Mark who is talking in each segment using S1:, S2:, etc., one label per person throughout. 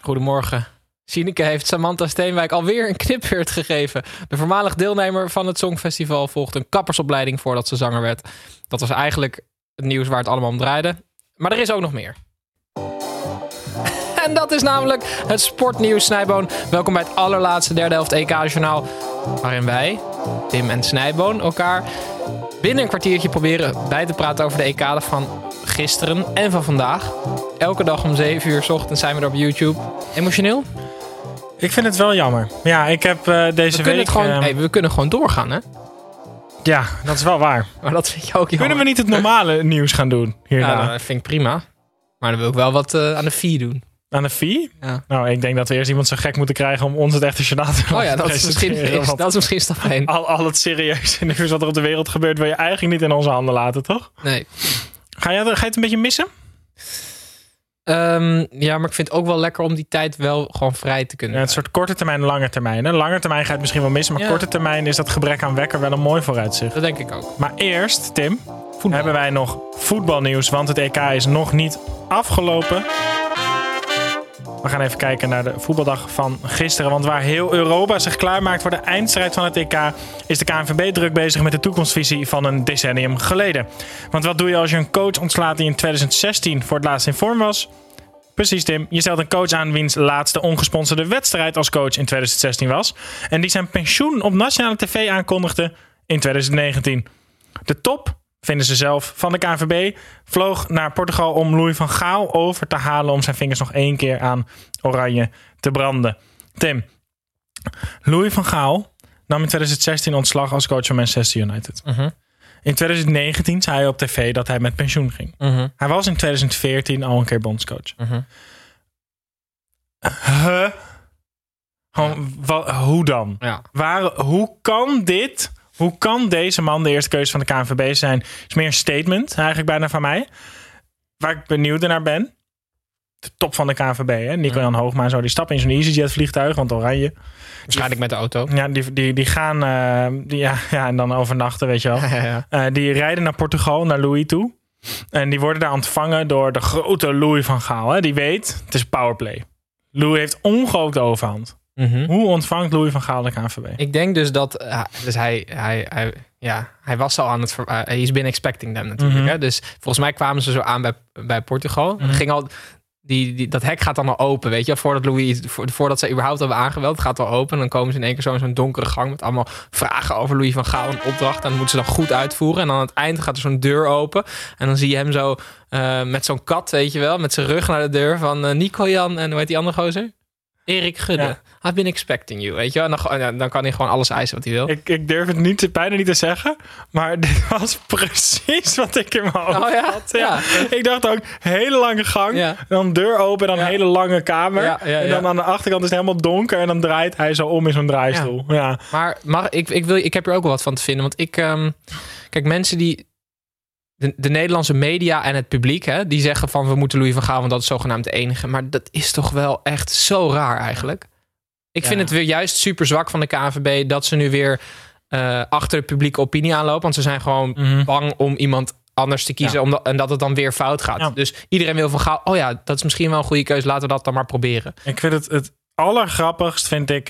S1: Goedemorgen. Sineke heeft Samantha Steenwijk alweer een knipbeurt gegeven. De voormalig deelnemer van het Songfestival volgt een kappersopleiding voordat ze zanger werd. Dat was eigenlijk het nieuws waar het allemaal om draaide. Maar er is ook nog meer. En dat is namelijk het sportnieuws Snijboon. Welkom bij het allerlaatste derde helft EK-journaal. Waarin wij, Tim en Snijboon, elkaar binnen een kwartiertje proberen bij te praten over de EK van gisteren en van vandaag. Elke dag om 7 uur 's ochtends zijn we er op YouTube. Emotioneel?
S2: Ik vind het wel jammer. Ja, ik heb eh,
S1: We
S2: deze
S1: kunnen,
S2: week.
S1: het gewoon,
S2: eh,
S1: hey, we kunnen gewoon doorgaan, hè?
S2: Ja, dat is wel waar.
S1: Maar dat vind je ook jammer.
S2: Kunnen we niet het normale nieuws gaan doen hierna?
S1: Ja, dat vind ik prima. Maar dan wil ik wel wat eh, aan de fee doen.
S2: Aan de fee?
S1: Ja.
S2: Nou, ik denk dat we eerst iemand zo gek moeten krijgen om ons het echte journaal te
S1: Oh ja,
S2: laten
S1: dat is misschien,
S2: presenteren,
S1: is,
S2: want
S1: dat is misschien stap 1.
S2: Al, al het serieuze nieuws wat er op de wereld gebeurt, wil je eigenlijk niet in onze handen laten, toch?
S1: Nee.
S2: Ga je, ga je het een beetje missen?
S1: Ehm, ja, maar ik vind het ook wel lekker om die tijd wel gewoon vrij te kunnen.
S2: Ja, het soort korte termijn en lange termijn. Hè? Lange termijn ga je het misschien wel missen, maar
S1: Ja.
S2: korte termijn is dat gebrek aan wekker wel een mooi vooruitzicht.
S1: Dat denk ik ook.
S2: Maar eerst, Tim, hebben wij nog voetbalnieuws, want het EK is nog niet afgelopen. We gaan even kijken naar de voetbaldag van gisteren. Want waar heel Europa zich klaarmaakt voor de eindstrijd van het EK, is de KNVB druk bezig met de toekomstvisie van een decennium geleden. Want wat doe je als je een coach ontslaat die in 2016 voor het laatst in vorm was? Precies, Tim. Je stelt een coach aan wiens laatste ongesponsorde wedstrijd als coach in 2016 was. En die zijn pensioen op nationale tv aankondigde in 2019. De top, vinden ze zelf, van de KNVB vloog naar Portugal om Louis van Gaal over te halen om zijn vingers nog één keer aan Oranje te branden. Tim, Louis van Gaal nam in 2016 ontslag als coach van Manchester United.
S1: Mhm.
S2: In 2019 zei hij op tv dat hij met pensioen ging.
S1: Mhm.
S2: Hij was in 2014 al een keer bondscoach.
S1: Mhm.
S2: Huh? Gewoon, wa- hoe dan?
S1: Ja.
S2: Waar, hoe kan dit? Hoe kan deze man de eerste keuze van de KNVB zijn? Is meer een statement eigenlijk bijna van mij. Waar ik benieuwd naar ben. De top van de KNVB, hè? Nico-Jan Hoogma en zo. Die stappen in zo'n EasyJet vliegtuig, want oranje.
S1: Waarschijnlijk met de auto.
S2: Ja, die, die, die gaan... eh, die, ja, ja, en dan overnachten, weet je wel.
S1: Ja, ja.
S2: Eh, die rijden naar Portugal, naar Louis toe. En die worden daar ontvangen door de grote Louis van Gaal. Hè? Die weet, het is powerplay. Louis heeft ongelooflijk de overhand.
S1: Mhm.
S2: Hoe ontvangt Louis van Gaal de KNVB?
S1: Ik denk dus dat. eh, dus hij, hij, hij, ja, hij was al aan het. ver- eh, Hij is binnen expecting them natuurlijk.
S2: Mhm.
S1: hè? Dus volgens mij kwamen ze zo aan bij, bij Portugal.
S2: Mhm.
S1: Ging al, die, die, dat hek gaat dan al open, weet je. Voordat, Louis, iets- vo- voordat ze überhaupt hebben aangebeld, gaat het al open. En dan komen ze in één keer zo in zo'n donkere gang met allemaal vragen over Louis van Gaal. Een opdracht. En dat moeten ze dan goed uitvoeren. En aan het eind gaat er zo'n deur open. En dan zie je hem zo eh, met zo'n kat, weet je wel. Met zijn rug naar de deur van eh, Nico Jan. En hoe heet die andere gozer? Erik Gudde.
S2: Ja.
S1: I've been expecting you, weet je wel. En dan, en dan kan hij gewoon alles eisen wat hij wil.
S2: Ik, ik durf het niet, bijna niet te zeggen. Maar dit was precies wat ik in mijn hoofd
S1: Oh ja?
S2: had.
S1: Ja.
S2: Ik dacht ook, hele lange gang.
S1: Ja.
S2: Dan deur open, dan
S1: Ja.
S2: een hele lange kamer.
S1: Ja, ja,
S2: En dan
S1: ja.
S2: aan de achterkant is het helemaal donker. En dan draait hij zo om in zo'n draaistoel. Ja.
S1: Maar mag, ik, ik, wil, ik heb er ook wel wat van te vinden. Want ik. ehm, kijk, mensen die. De, de Nederlandse media en het publiek, hè, die zeggen van we moeten Louis van Gaal, want dat is zogenaamd de enige. Maar dat is toch wel echt zo raar eigenlijk. Ik
S2: Ja.
S1: vind het weer juist super zwak van de KNVB dat ze nu weer eh, achter de publieke opinie aanlopen. Want ze zijn gewoon
S2: Mhm.
S1: bang om iemand anders te kiezen
S2: Ja.
S1: omdat, en dat het dan weer fout gaat.
S2: Ja.
S1: Dus iedereen wil van Gaal, oh ja, dat is misschien wel een goede keuze, laten we dat dan maar proberen.
S2: Ik vind het het allergrappigst, vind ik,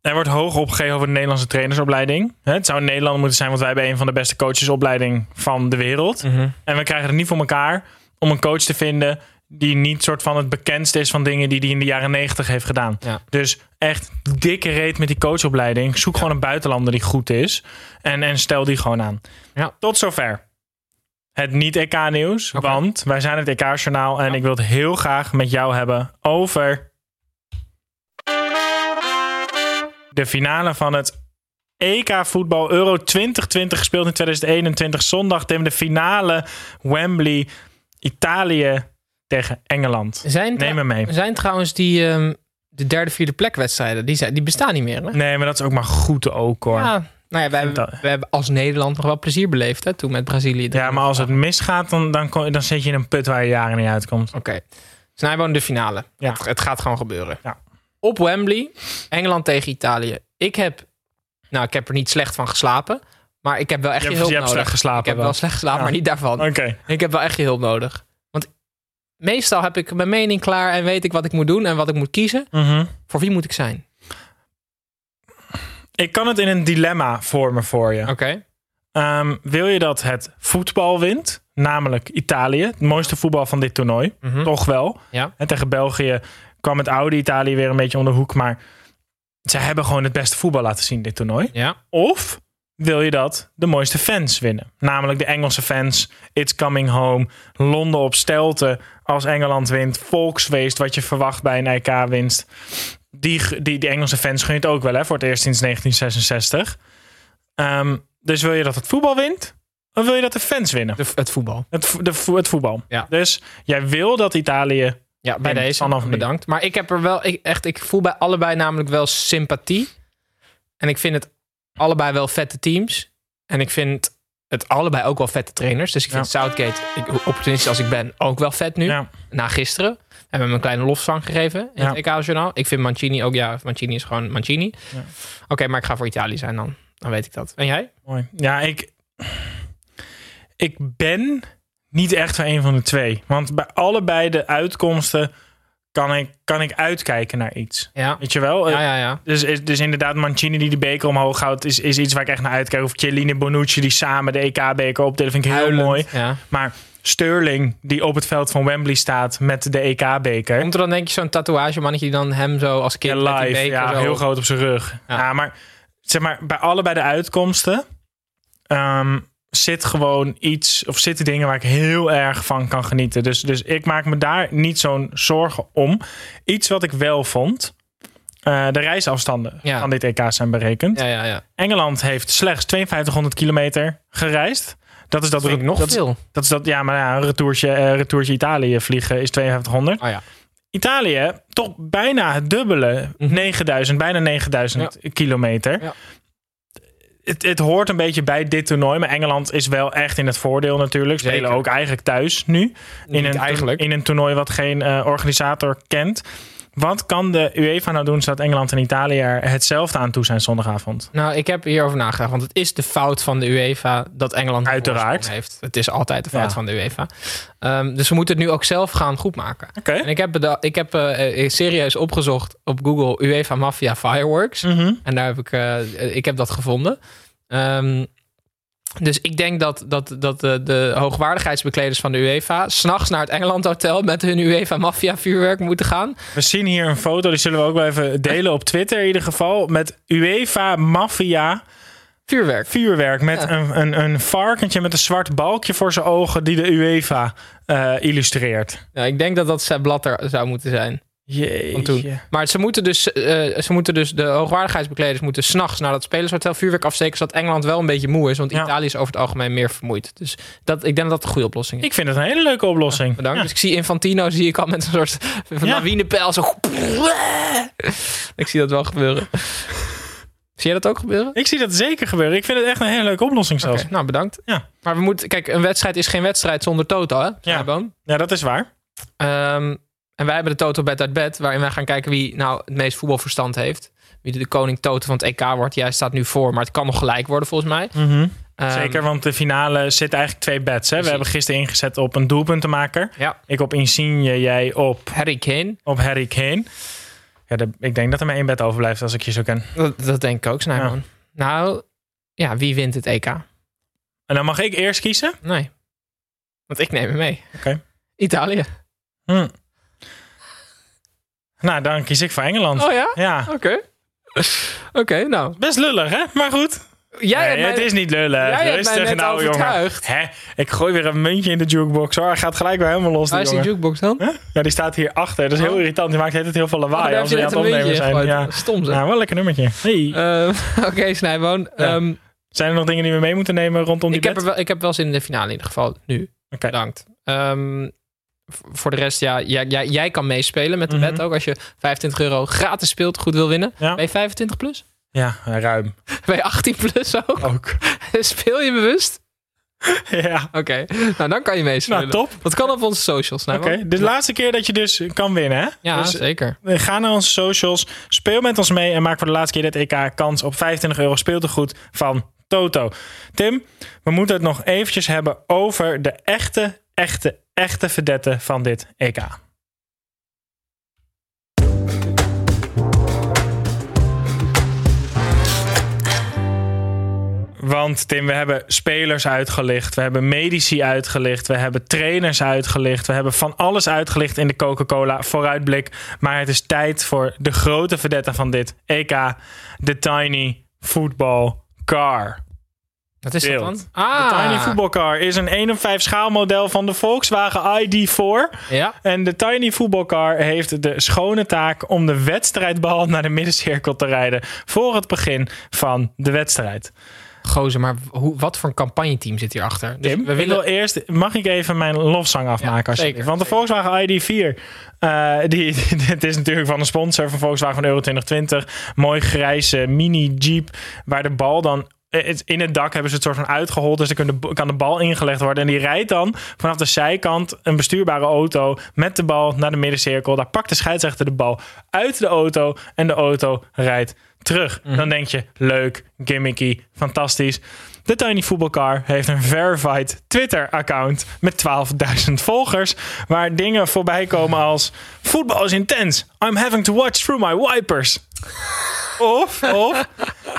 S2: Er wordt hoog opgegeven over de Nederlandse trainersopleiding. Hè, Het zou in Nederland moeten zijn, want wij hebben een van de beste coachesopleiding van de wereld. En we krijgen het niet voor elkaar om een coach te vinden die niet soort van het bekendste is van dingen die hij in de jaren negentig heeft gedaan.
S1: Ja.
S2: Dus echt dikke reet met die coachopleiding. Zoek gewoon een buitenlander die goed is. En, en stel die gewoon aan.
S1: Ja.
S2: Tot zover. Het niet-EK-nieuws.
S1: Oké.
S2: Want wij zijn het EK-journaal. En ik wil het heel graag met jou hebben over... de finale van het EK voetbal Euro 2020 gespeeld in 2021 zondag Tim de finale Wembley Italië tegen Engeland.
S1: Zijn,
S2: Neem
S1: trou-
S2: hem mee.
S1: zijn trouwens die ehm, de derde, vierde plek wedstrijden, die, zijn, die bestaan niet meer. Hè?
S2: Nee, maar dat is ook maar goed ook hoor. Ja,
S1: Ja, nou ja, wij,
S2: vind
S1: hebben-
S2: dat-
S1: wij hebben als Nederland nog wel plezier beleefd hè, toen met Brazilië.
S2: maar als het misgaat, dan, dan, kon- dan zit je in een put waar je jaren niet uitkomt.
S1: Oké. Dus nou, Snijboon de finale.
S2: Ja.
S1: Het, het gaat gewoon gebeuren.
S2: Ja.
S1: Op Wembley, Engeland tegen Italië. Ik heb, nou, ik heb er niet slecht van geslapen. Maar ik heb wel echt
S2: Je
S1: je,
S2: hebt-
S1: hulp
S2: je hebt
S1: nodig.
S2: slecht geslapen
S1: Ik heb
S2: dan.
S1: wel slecht geslapen,
S2: Ja. Oh.
S1: maar niet daarvan.
S2: Oké,
S1: Ik heb wel echt je hulp nodig. Want meestal heb ik mijn mening klaar en weet ik wat ik moet doen en wat ik moet kiezen.
S2: Mhm.
S1: Voor wie moet ik zijn?
S2: ik kan het in een dilemma vormen voor je.
S1: Oké.
S2: Ehm, wil je dat het voetbal wint, namelijk Italië, het mooiste voetbal van dit toernooi?
S1: Mhm.
S2: toch wel.
S1: Ja.
S2: En tegen België kwam het oude Italië weer een beetje om de hoek. Maar ze hebben gewoon het beste voetbal laten zien dit toernooi.
S1: Ja.
S2: Of wil je dat de mooiste fans winnen? Namelijk de Engelse fans. It's coming home. Londen op stelten als Engeland wint. Volksfeest wat je verwacht bij een EK-winst. Die, die, die Engelse fans gun je het ook wel, hè? Voor het eerst sinds 1966. Ehm, dus wil je dat het voetbal wint? Of wil je dat de fans winnen?
S1: De, het voetbal.
S2: Het, vo- de, vo- het voetbal.
S1: Ja.
S2: Dus jij wil dat Italië
S1: Ja, bij
S2: En vanaf
S1: deze.
S2: nu.
S1: Bedankt. Maar ik heb er wel ik, echt, ik voel bij allebei namelijk wel sympathie. En ik vind het allebei wel vette teams. En ik vind het allebei ook wel vette trainers. Dus ik vind Southgate, ik, hoe opportunistisch als ik ben, ook wel vet nu.
S2: Ja.
S1: Na gisteren hebben we hem een kleine lofzang gegeven in
S2: Ja.
S1: het EK-journaal. Ik vind Mancini ook, ja, Mancini is gewoon Mancini.
S2: Ja.
S1: Oké, maar ik ga voor Italië zijn dan. Dan weet ik dat. En jij?
S2: Mooi. Ja, ik, ik ben niet echt van een van de twee. Want bij allebei de uitkomsten kan ik, kan ik uitkijken naar iets.
S1: Ja.
S2: Weet je wel?
S1: Ja, ja, ja.
S2: Dus, is- dus inderdaad, Mancini die de beker omhoog houdt, is, is iets waar ik echt naar uitkijk. Of Chiellini Bonucci die samen de EK-beker opdelen, vind ik heel
S1: Huilend.
S2: mooi.
S1: Ja.
S2: Maar Sterling die op het veld van Wembley staat met de EK-beker.
S1: Komt er dan denk je zo'n tatoeagemannetje die dan hem zo als kind
S2: Ja,
S1: met die
S2: live.
S1: beker
S2: Ja,
S1: zo...
S2: heel groot op zijn rug.
S1: Ja.
S2: Ja. maar zeg maar, bij allebei de uitkomsten ehm, zit gewoon iets, of zitten dingen waar ik heel erg van kan genieten. Dus, dus ik maak me daar niet zo'n zorgen om. Iets wat ik wel vond. eh, de reisafstanden
S1: Ja.
S2: van dit EK zijn berekend.
S1: Ja, ja, ja.
S2: Engeland heeft slechts 5200 kilometer gereisd. Dat is dat,
S1: Dat vind ik nog
S2: dat, is-
S1: veel.
S2: dat is dat, ja, maar ja, een retourtje, eh, retourtje Italië vliegen is 5200.
S1: Oh ja.
S2: Italië toch bijna het dubbele.
S1: Mhm.
S2: 9000, bijna 9000 kilometer.
S1: Ja.
S2: Het, het hoort een beetje bij dit toernooi. Maar Engeland is wel echt in het voordeel natuurlijk. Spelen
S1: Zeker.
S2: ook eigenlijk thuis nu. In
S1: Niet
S2: een,
S1: eigenlijk.
S2: in een toernooi wat geen eh, organisator kent. Wat kan de UEFA nou doen zodat Engeland en Italië er hetzelfde aan toe zijn zondagavond?
S1: Nou, ik heb hierover nagedacht. Want het is de fout van de UEFA dat Engeland de
S2: Uiteraard.
S1: voorsprong heeft. Het is altijd de fout
S2: Ja.
S1: van de UEFA. Ehm, dus we moeten het nu ook zelf gaan goedmaken.
S2: Oké.
S1: En ik heb, beda- ik heb eh, eh, serieus opgezocht op Google UEFA Mafia Fireworks.
S2: Mhm.
S1: En daar heb ik, eh, ik heb dat gevonden. Ehm, dus ik denk dat, dat, dat de, de hoogwaardigheidsbekleders van de UEFA... s'nachts naar het Engeland Hotel met hun UEFA Mafia vuurwerk moeten gaan.
S2: We zien hier een foto, die zullen we ook wel even delen op Twitter in ieder geval. Met UEFA Mafia
S1: Vuurwerk.
S2: vuurwerk met
S1: Ja.
S2: een, een, een varkentje met een zwart balkje voor zijn ogen die de UEFA eh, illustreert.
S1: Nou, ik denk dat dat Sepp Blatter zou moeten zijn.
S2: Jeetje.
S1: van toen. Maar ze moeten dus, eh, ze moeten dus de hoogwaardigheidsbekleders moeten s'nachts naar dat spelershotel vuurwerk afsteken, zodat Engeland wel een beetje moe is, want
S2: Ja.
S1: Italië is over het algemeen meer vermoeid. Dus dat, ik denk dat dat een goede oplossing is.
S2: Ik vind het een hele leuke oplossing.
S1: Bedankt. Dus ik zie Infantino zie ik al met een soort van
S2: Ja.
S1: lawinepijl zo. ik zie dat wel gebeuren. zie jij dat ook gebeuren?
S2: Ik zie dat zeker gebeuren. Ik vind het echt een hele leuke oplossing zelfs.
S1: Oké, nou, bedankt.
S2: Ja.
S1: Maar we moeten, kijk, een wedstrijd is geen wedstrijd zonder Toto, hè? Snijboon?
S2: Ja, dat is waar.
S1: Ehm, en wij hebben de Toto Bed uit bed, waarin wij gaan kijken wie nou het meest voetbalverstand heeft. Wie de koning Toto van het EK wordt. Jij staat nu voor, maar het kan nog gelijk worden volgens mij. Ehm,
S2: Mhm. Zeker, want de finale zit eigenlijk twee bets. Hè? We
S1: Precies.
S2: hebben gisteren ingezet op een doelpuntenmaker.
S1: Ja.
S2: Ik op Insigne, jij op,
S1: Harry Kane.
S2: op Harry Kane. Ja, de- ik denk dat er maar één bed overblijft als ik je zo ken.
S1: Dat, dat denk ik ook, Snijman.
S2: Ja.
S1: Nou, ja, wie wint het EK?
S2: En dan mag ik eerst kiezen?
S1: Nee. Want ik neem hem mee.
S2: Oké.
S1: Italië.
S2: Hm. Nou, dan kies ik voor Engeland.
S1: Oh ja?
S2: Ja.
S1: Oké. Oké, nou.
S2: Best lullig, hè? Maar goed.
S1: Jij
S2: Nee,
S1: hebt mij-
S2: het is niet lullig.
S1: jij hebt mij
S2: Rustig
S1: net
S2: nou, jongen.
S1: overtuigd.
S2: Hè? Ik gooi weer een muntje in de jukebox. hoor. hij gaat gelijk weer helemaal los, die
S1: Waar is die
S2: jongen.
S1: jukebox dan?
S2: Huh? Ja, die staat hier achter. Dat is heel
S1: Oh.
S2: irritant. Die maakt het heel veel
S1: Oh,
S2: lawaai
S1: daar
S2: als
S1: heb
S2: we
S1: je
S2: aan het
S1: net een
S2: opnemen
S1: muntje
S2: zijn.
S1: gegooid.
S2: Ja.
S1: Stom zeg.
S2: Nou, wel een lekker nummertje. Hey.
S1: Eh, Oké, Snijboon.
S2: Ja.
S1: Ehm,
S2: Zijn er nog dingen die we mee moeten nemen rondom die
S1: ik, heb
S2: bed?
S1: er wel, ik heb wel zin in de finale in ieder geval. Nu.
S2: Oké.
S1: Bedankt. Ehm, v- voor de rest, ja, jij, jij, jij kan meespelen met de
S2: Mhm.
S1: bet ook. Als je 25 euro gratis speelt, goed wil winnen.
S2: Ja.
S1: Ben je 25 plus?
S2: Ja, eh, ruim.
S1: Ben je 18 plus ook?
S2: Ook.
S1: Speel je bewust?
S2: ja.
S1: Oké, nou dan kan je meespelen.
S2: Nou, top.
S1: Dat kan op onze socials. Nou,
S2: Oké, de laatste keer dat je dus kan winnen, hè?
S1: Ja,
S2: Dus,
S1: zeker.
S2: eh, ga naar onze socials, speel met ons mee en maak voor de laatste keer dit EK kans op 25 euro speeltegoed van Toto. Tim, we moeten het nog eventjes hebben over de echte, echte, echte verdetten van dit EK. Want Tim, we hebben spelers uitgelicht. We hebben medici uitgelicht. We hebben trainers uitgelicht. We hebben van alles uitgelicht in de Coca-Cola vooruitblik. Maar het is tijd voor de grote verdette van dit EK. De Tiny Football Car.
S1: Wat is dat dan?
S2: Beeld.
S1: Ah,
S2: De Tiny Football Car is een 1 op 5 schaalmodel van de Volkswagen ID4.
S1: Ja.
S2: En de Tiny Football Car heeft de schone taak om de wedstrijdbal naar de middencirkel te rijden. Voor het begin van de wedstrijd.
S1: Gozer, maar hoe, wat voor een campagneteam zit hierachter? Dus
S2: Tim,
S1: we willen...
S2: ik wil eerst, mag ik even mijn lofzang afmaken?
S1: Ja,
S2: als
S1: zeker,
S2: Want de Volkswagen ID4, eh, die, het is natuurlijk van een sponsor van Volkswagen van Euro 2020. Mooi grijze mini Jeep, waar de bal dan... eh, het- In het dak hebben ze het soort van uitgehold. Dus dan kunnen de- kan de bal ingelegd worden. En die rijdt dan vanaf de zijkant een bestuurbare auto met de bal naar de middencirkel. Daar pakt de scheidsrechter de bal uit de auto. En de auto rijdt terug. Dan denk je, leuk, gimmicky, fantastisch. De Tiny Voetbalcar heeft een verified Twitter-account met 12.000 volgers. Waar dingen voorbij komen als... Voetbal is intens. I'm having to watch through my wipers. Of, of...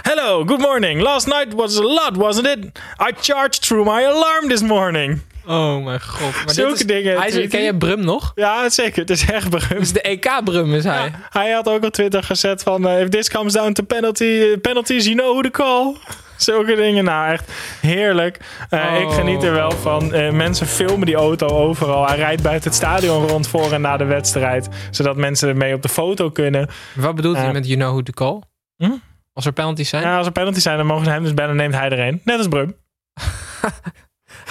S2: Hello, good morning. Last night was a lot, wasn't it? I charged through my alarm this morning.
S1: Oh mijn god. Maar dit
S2: Zulke
S1: is-
S2: dingen,
S1: Hij is,
S2: tweet
S1: ken
S2: hij.
S1: je Brum nog?
S2: Ja, zeker. Het is echt berucht.
S1: Dus de EK-Brum is hij.
S2: Hij had ook op Twitter gezet van... eh, if this comes down to penalty, eh, penalties, you know who to call. Zulke dingen. Nou, echt heerlijk. Eh,
S1: Oh.
S2: Ik geniet er wel van. Eh, mensen filmen die auto overal. Hij rijdt buiten het stadion rond voor en na de wedstrijd. Zodat mensen ermee op de foto kunnen.
S1: Wat bedoelt hij
S2: Ja.
S1: met you know who to call?
S2: Eh. Hm?
S1: Als er penalties zijn?
S2: Ja, als er penalties zijn, dan mogen ze hem dus bellen. neemt hij er een. Net als Brum.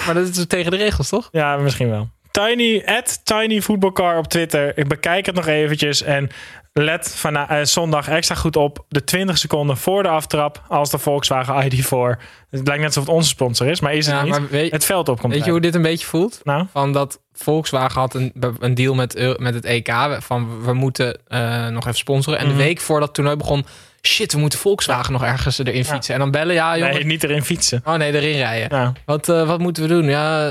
S1: Maar dat is tegen de regels, toch?
S2: Ja, misschien wel. Tiny, at Tiny Voetbalcar op Twitter. Ik bekijk het nog eventjes. En let van, zondag extra goed op. De 20 seconden voor de aftrap. Als de Volkswagen ID4. Het lijkt net alsof het onze sponsor is. Maar is het
S1: ja,
S2: niet.
S1: maar weet,
S2: Het veld op komt
S1: weet je hoe
S2: rijden.
S1: dit een beetje voelt?
S2: Nou,
S1: Van dat Volkswagen had een, be- een deal met, Eu- met het EK. Van we moeten eh, nog even sponsoren. En
S2: Mhm.
S1: de week voordat het toernooi begon. Shit, we moeten Volkswagen nog ergens erin fietsen. En dan bellen, ja jongen.
S2: nee, niet erin fietsen.
S1: Oh nee, erin rijden.
S2: Nou,
S1: Wat, eh, wat moeten we doen? Ja,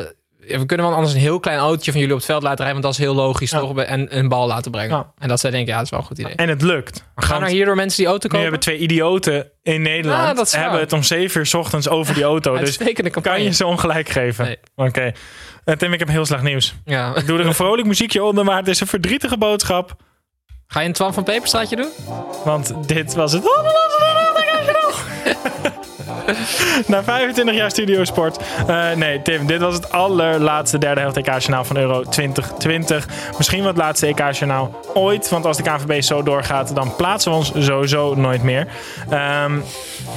S1: ja, we kunnen wel anders een heel klein autootje van jullie op het veld laten rijden. Want dat is heel logisch
S2: Ja.
S1: toch? En een bal laten brengen.
S2: Ja.
S1: En dat zij denken, ja, dat is wel een goed idee.
S2: en het lukt.
S1: Maar gaan
S2: Want
S1: er hierdoor mensen die auto
S2: nu
S1: kopen?
S2: hebben twee idioten in Nederland.
S1: Ah, dat is waar.
S2: hebben het om 7 uur 's ochtends over die auto. dus
S1: Uitstekende
S2: kan
S1: campagne.
S2: je ze ongelijk geven.
S1: Nee.
S2: Oké. Eh, Tim, ik heb heel slecht nieuws.
S1: Ja.
S2: Ik doe er een vrolijk muziekje onder, maar het is een verdrietige boodschap.
S1: Ga je een Twan van Peperstraatje doen?
S2: Want dit was het. Na 25 jaar studiosport. Eh nee, Tim, dit was het allerlaatste derde helft EK-journaal van Euro 2020. Misschien wel het laatste EK-journaal ooit. Want als de KNVB zo doorgaat, dan plaatsen we ons sowieso nooit meer. Ehm,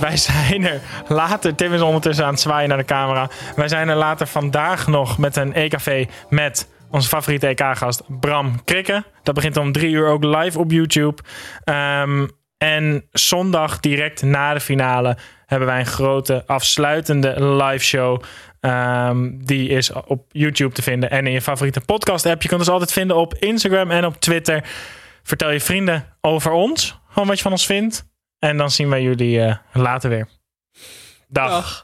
S2: wij zijn er later. Tim is ondertussen aan het zwaaien naar de camera. Wij zijn er later vandaag nog met een EKV met onze favoriete EK-gast Bram Krikke. Dat begint om drie uur ook live op YouTube. Ehm, en zondag, direct na de finale, hebben wij een grote afsluitende live show. Ehm, die is op YouTube te vinden en in je favoriete podcast app. Je kunt ons altijd vinden op Instagram en op Twitter. Vertel je vrienden over ons, gewoon wat je van ons vindt. En dan zien wij jullie eh, later weer. Dag.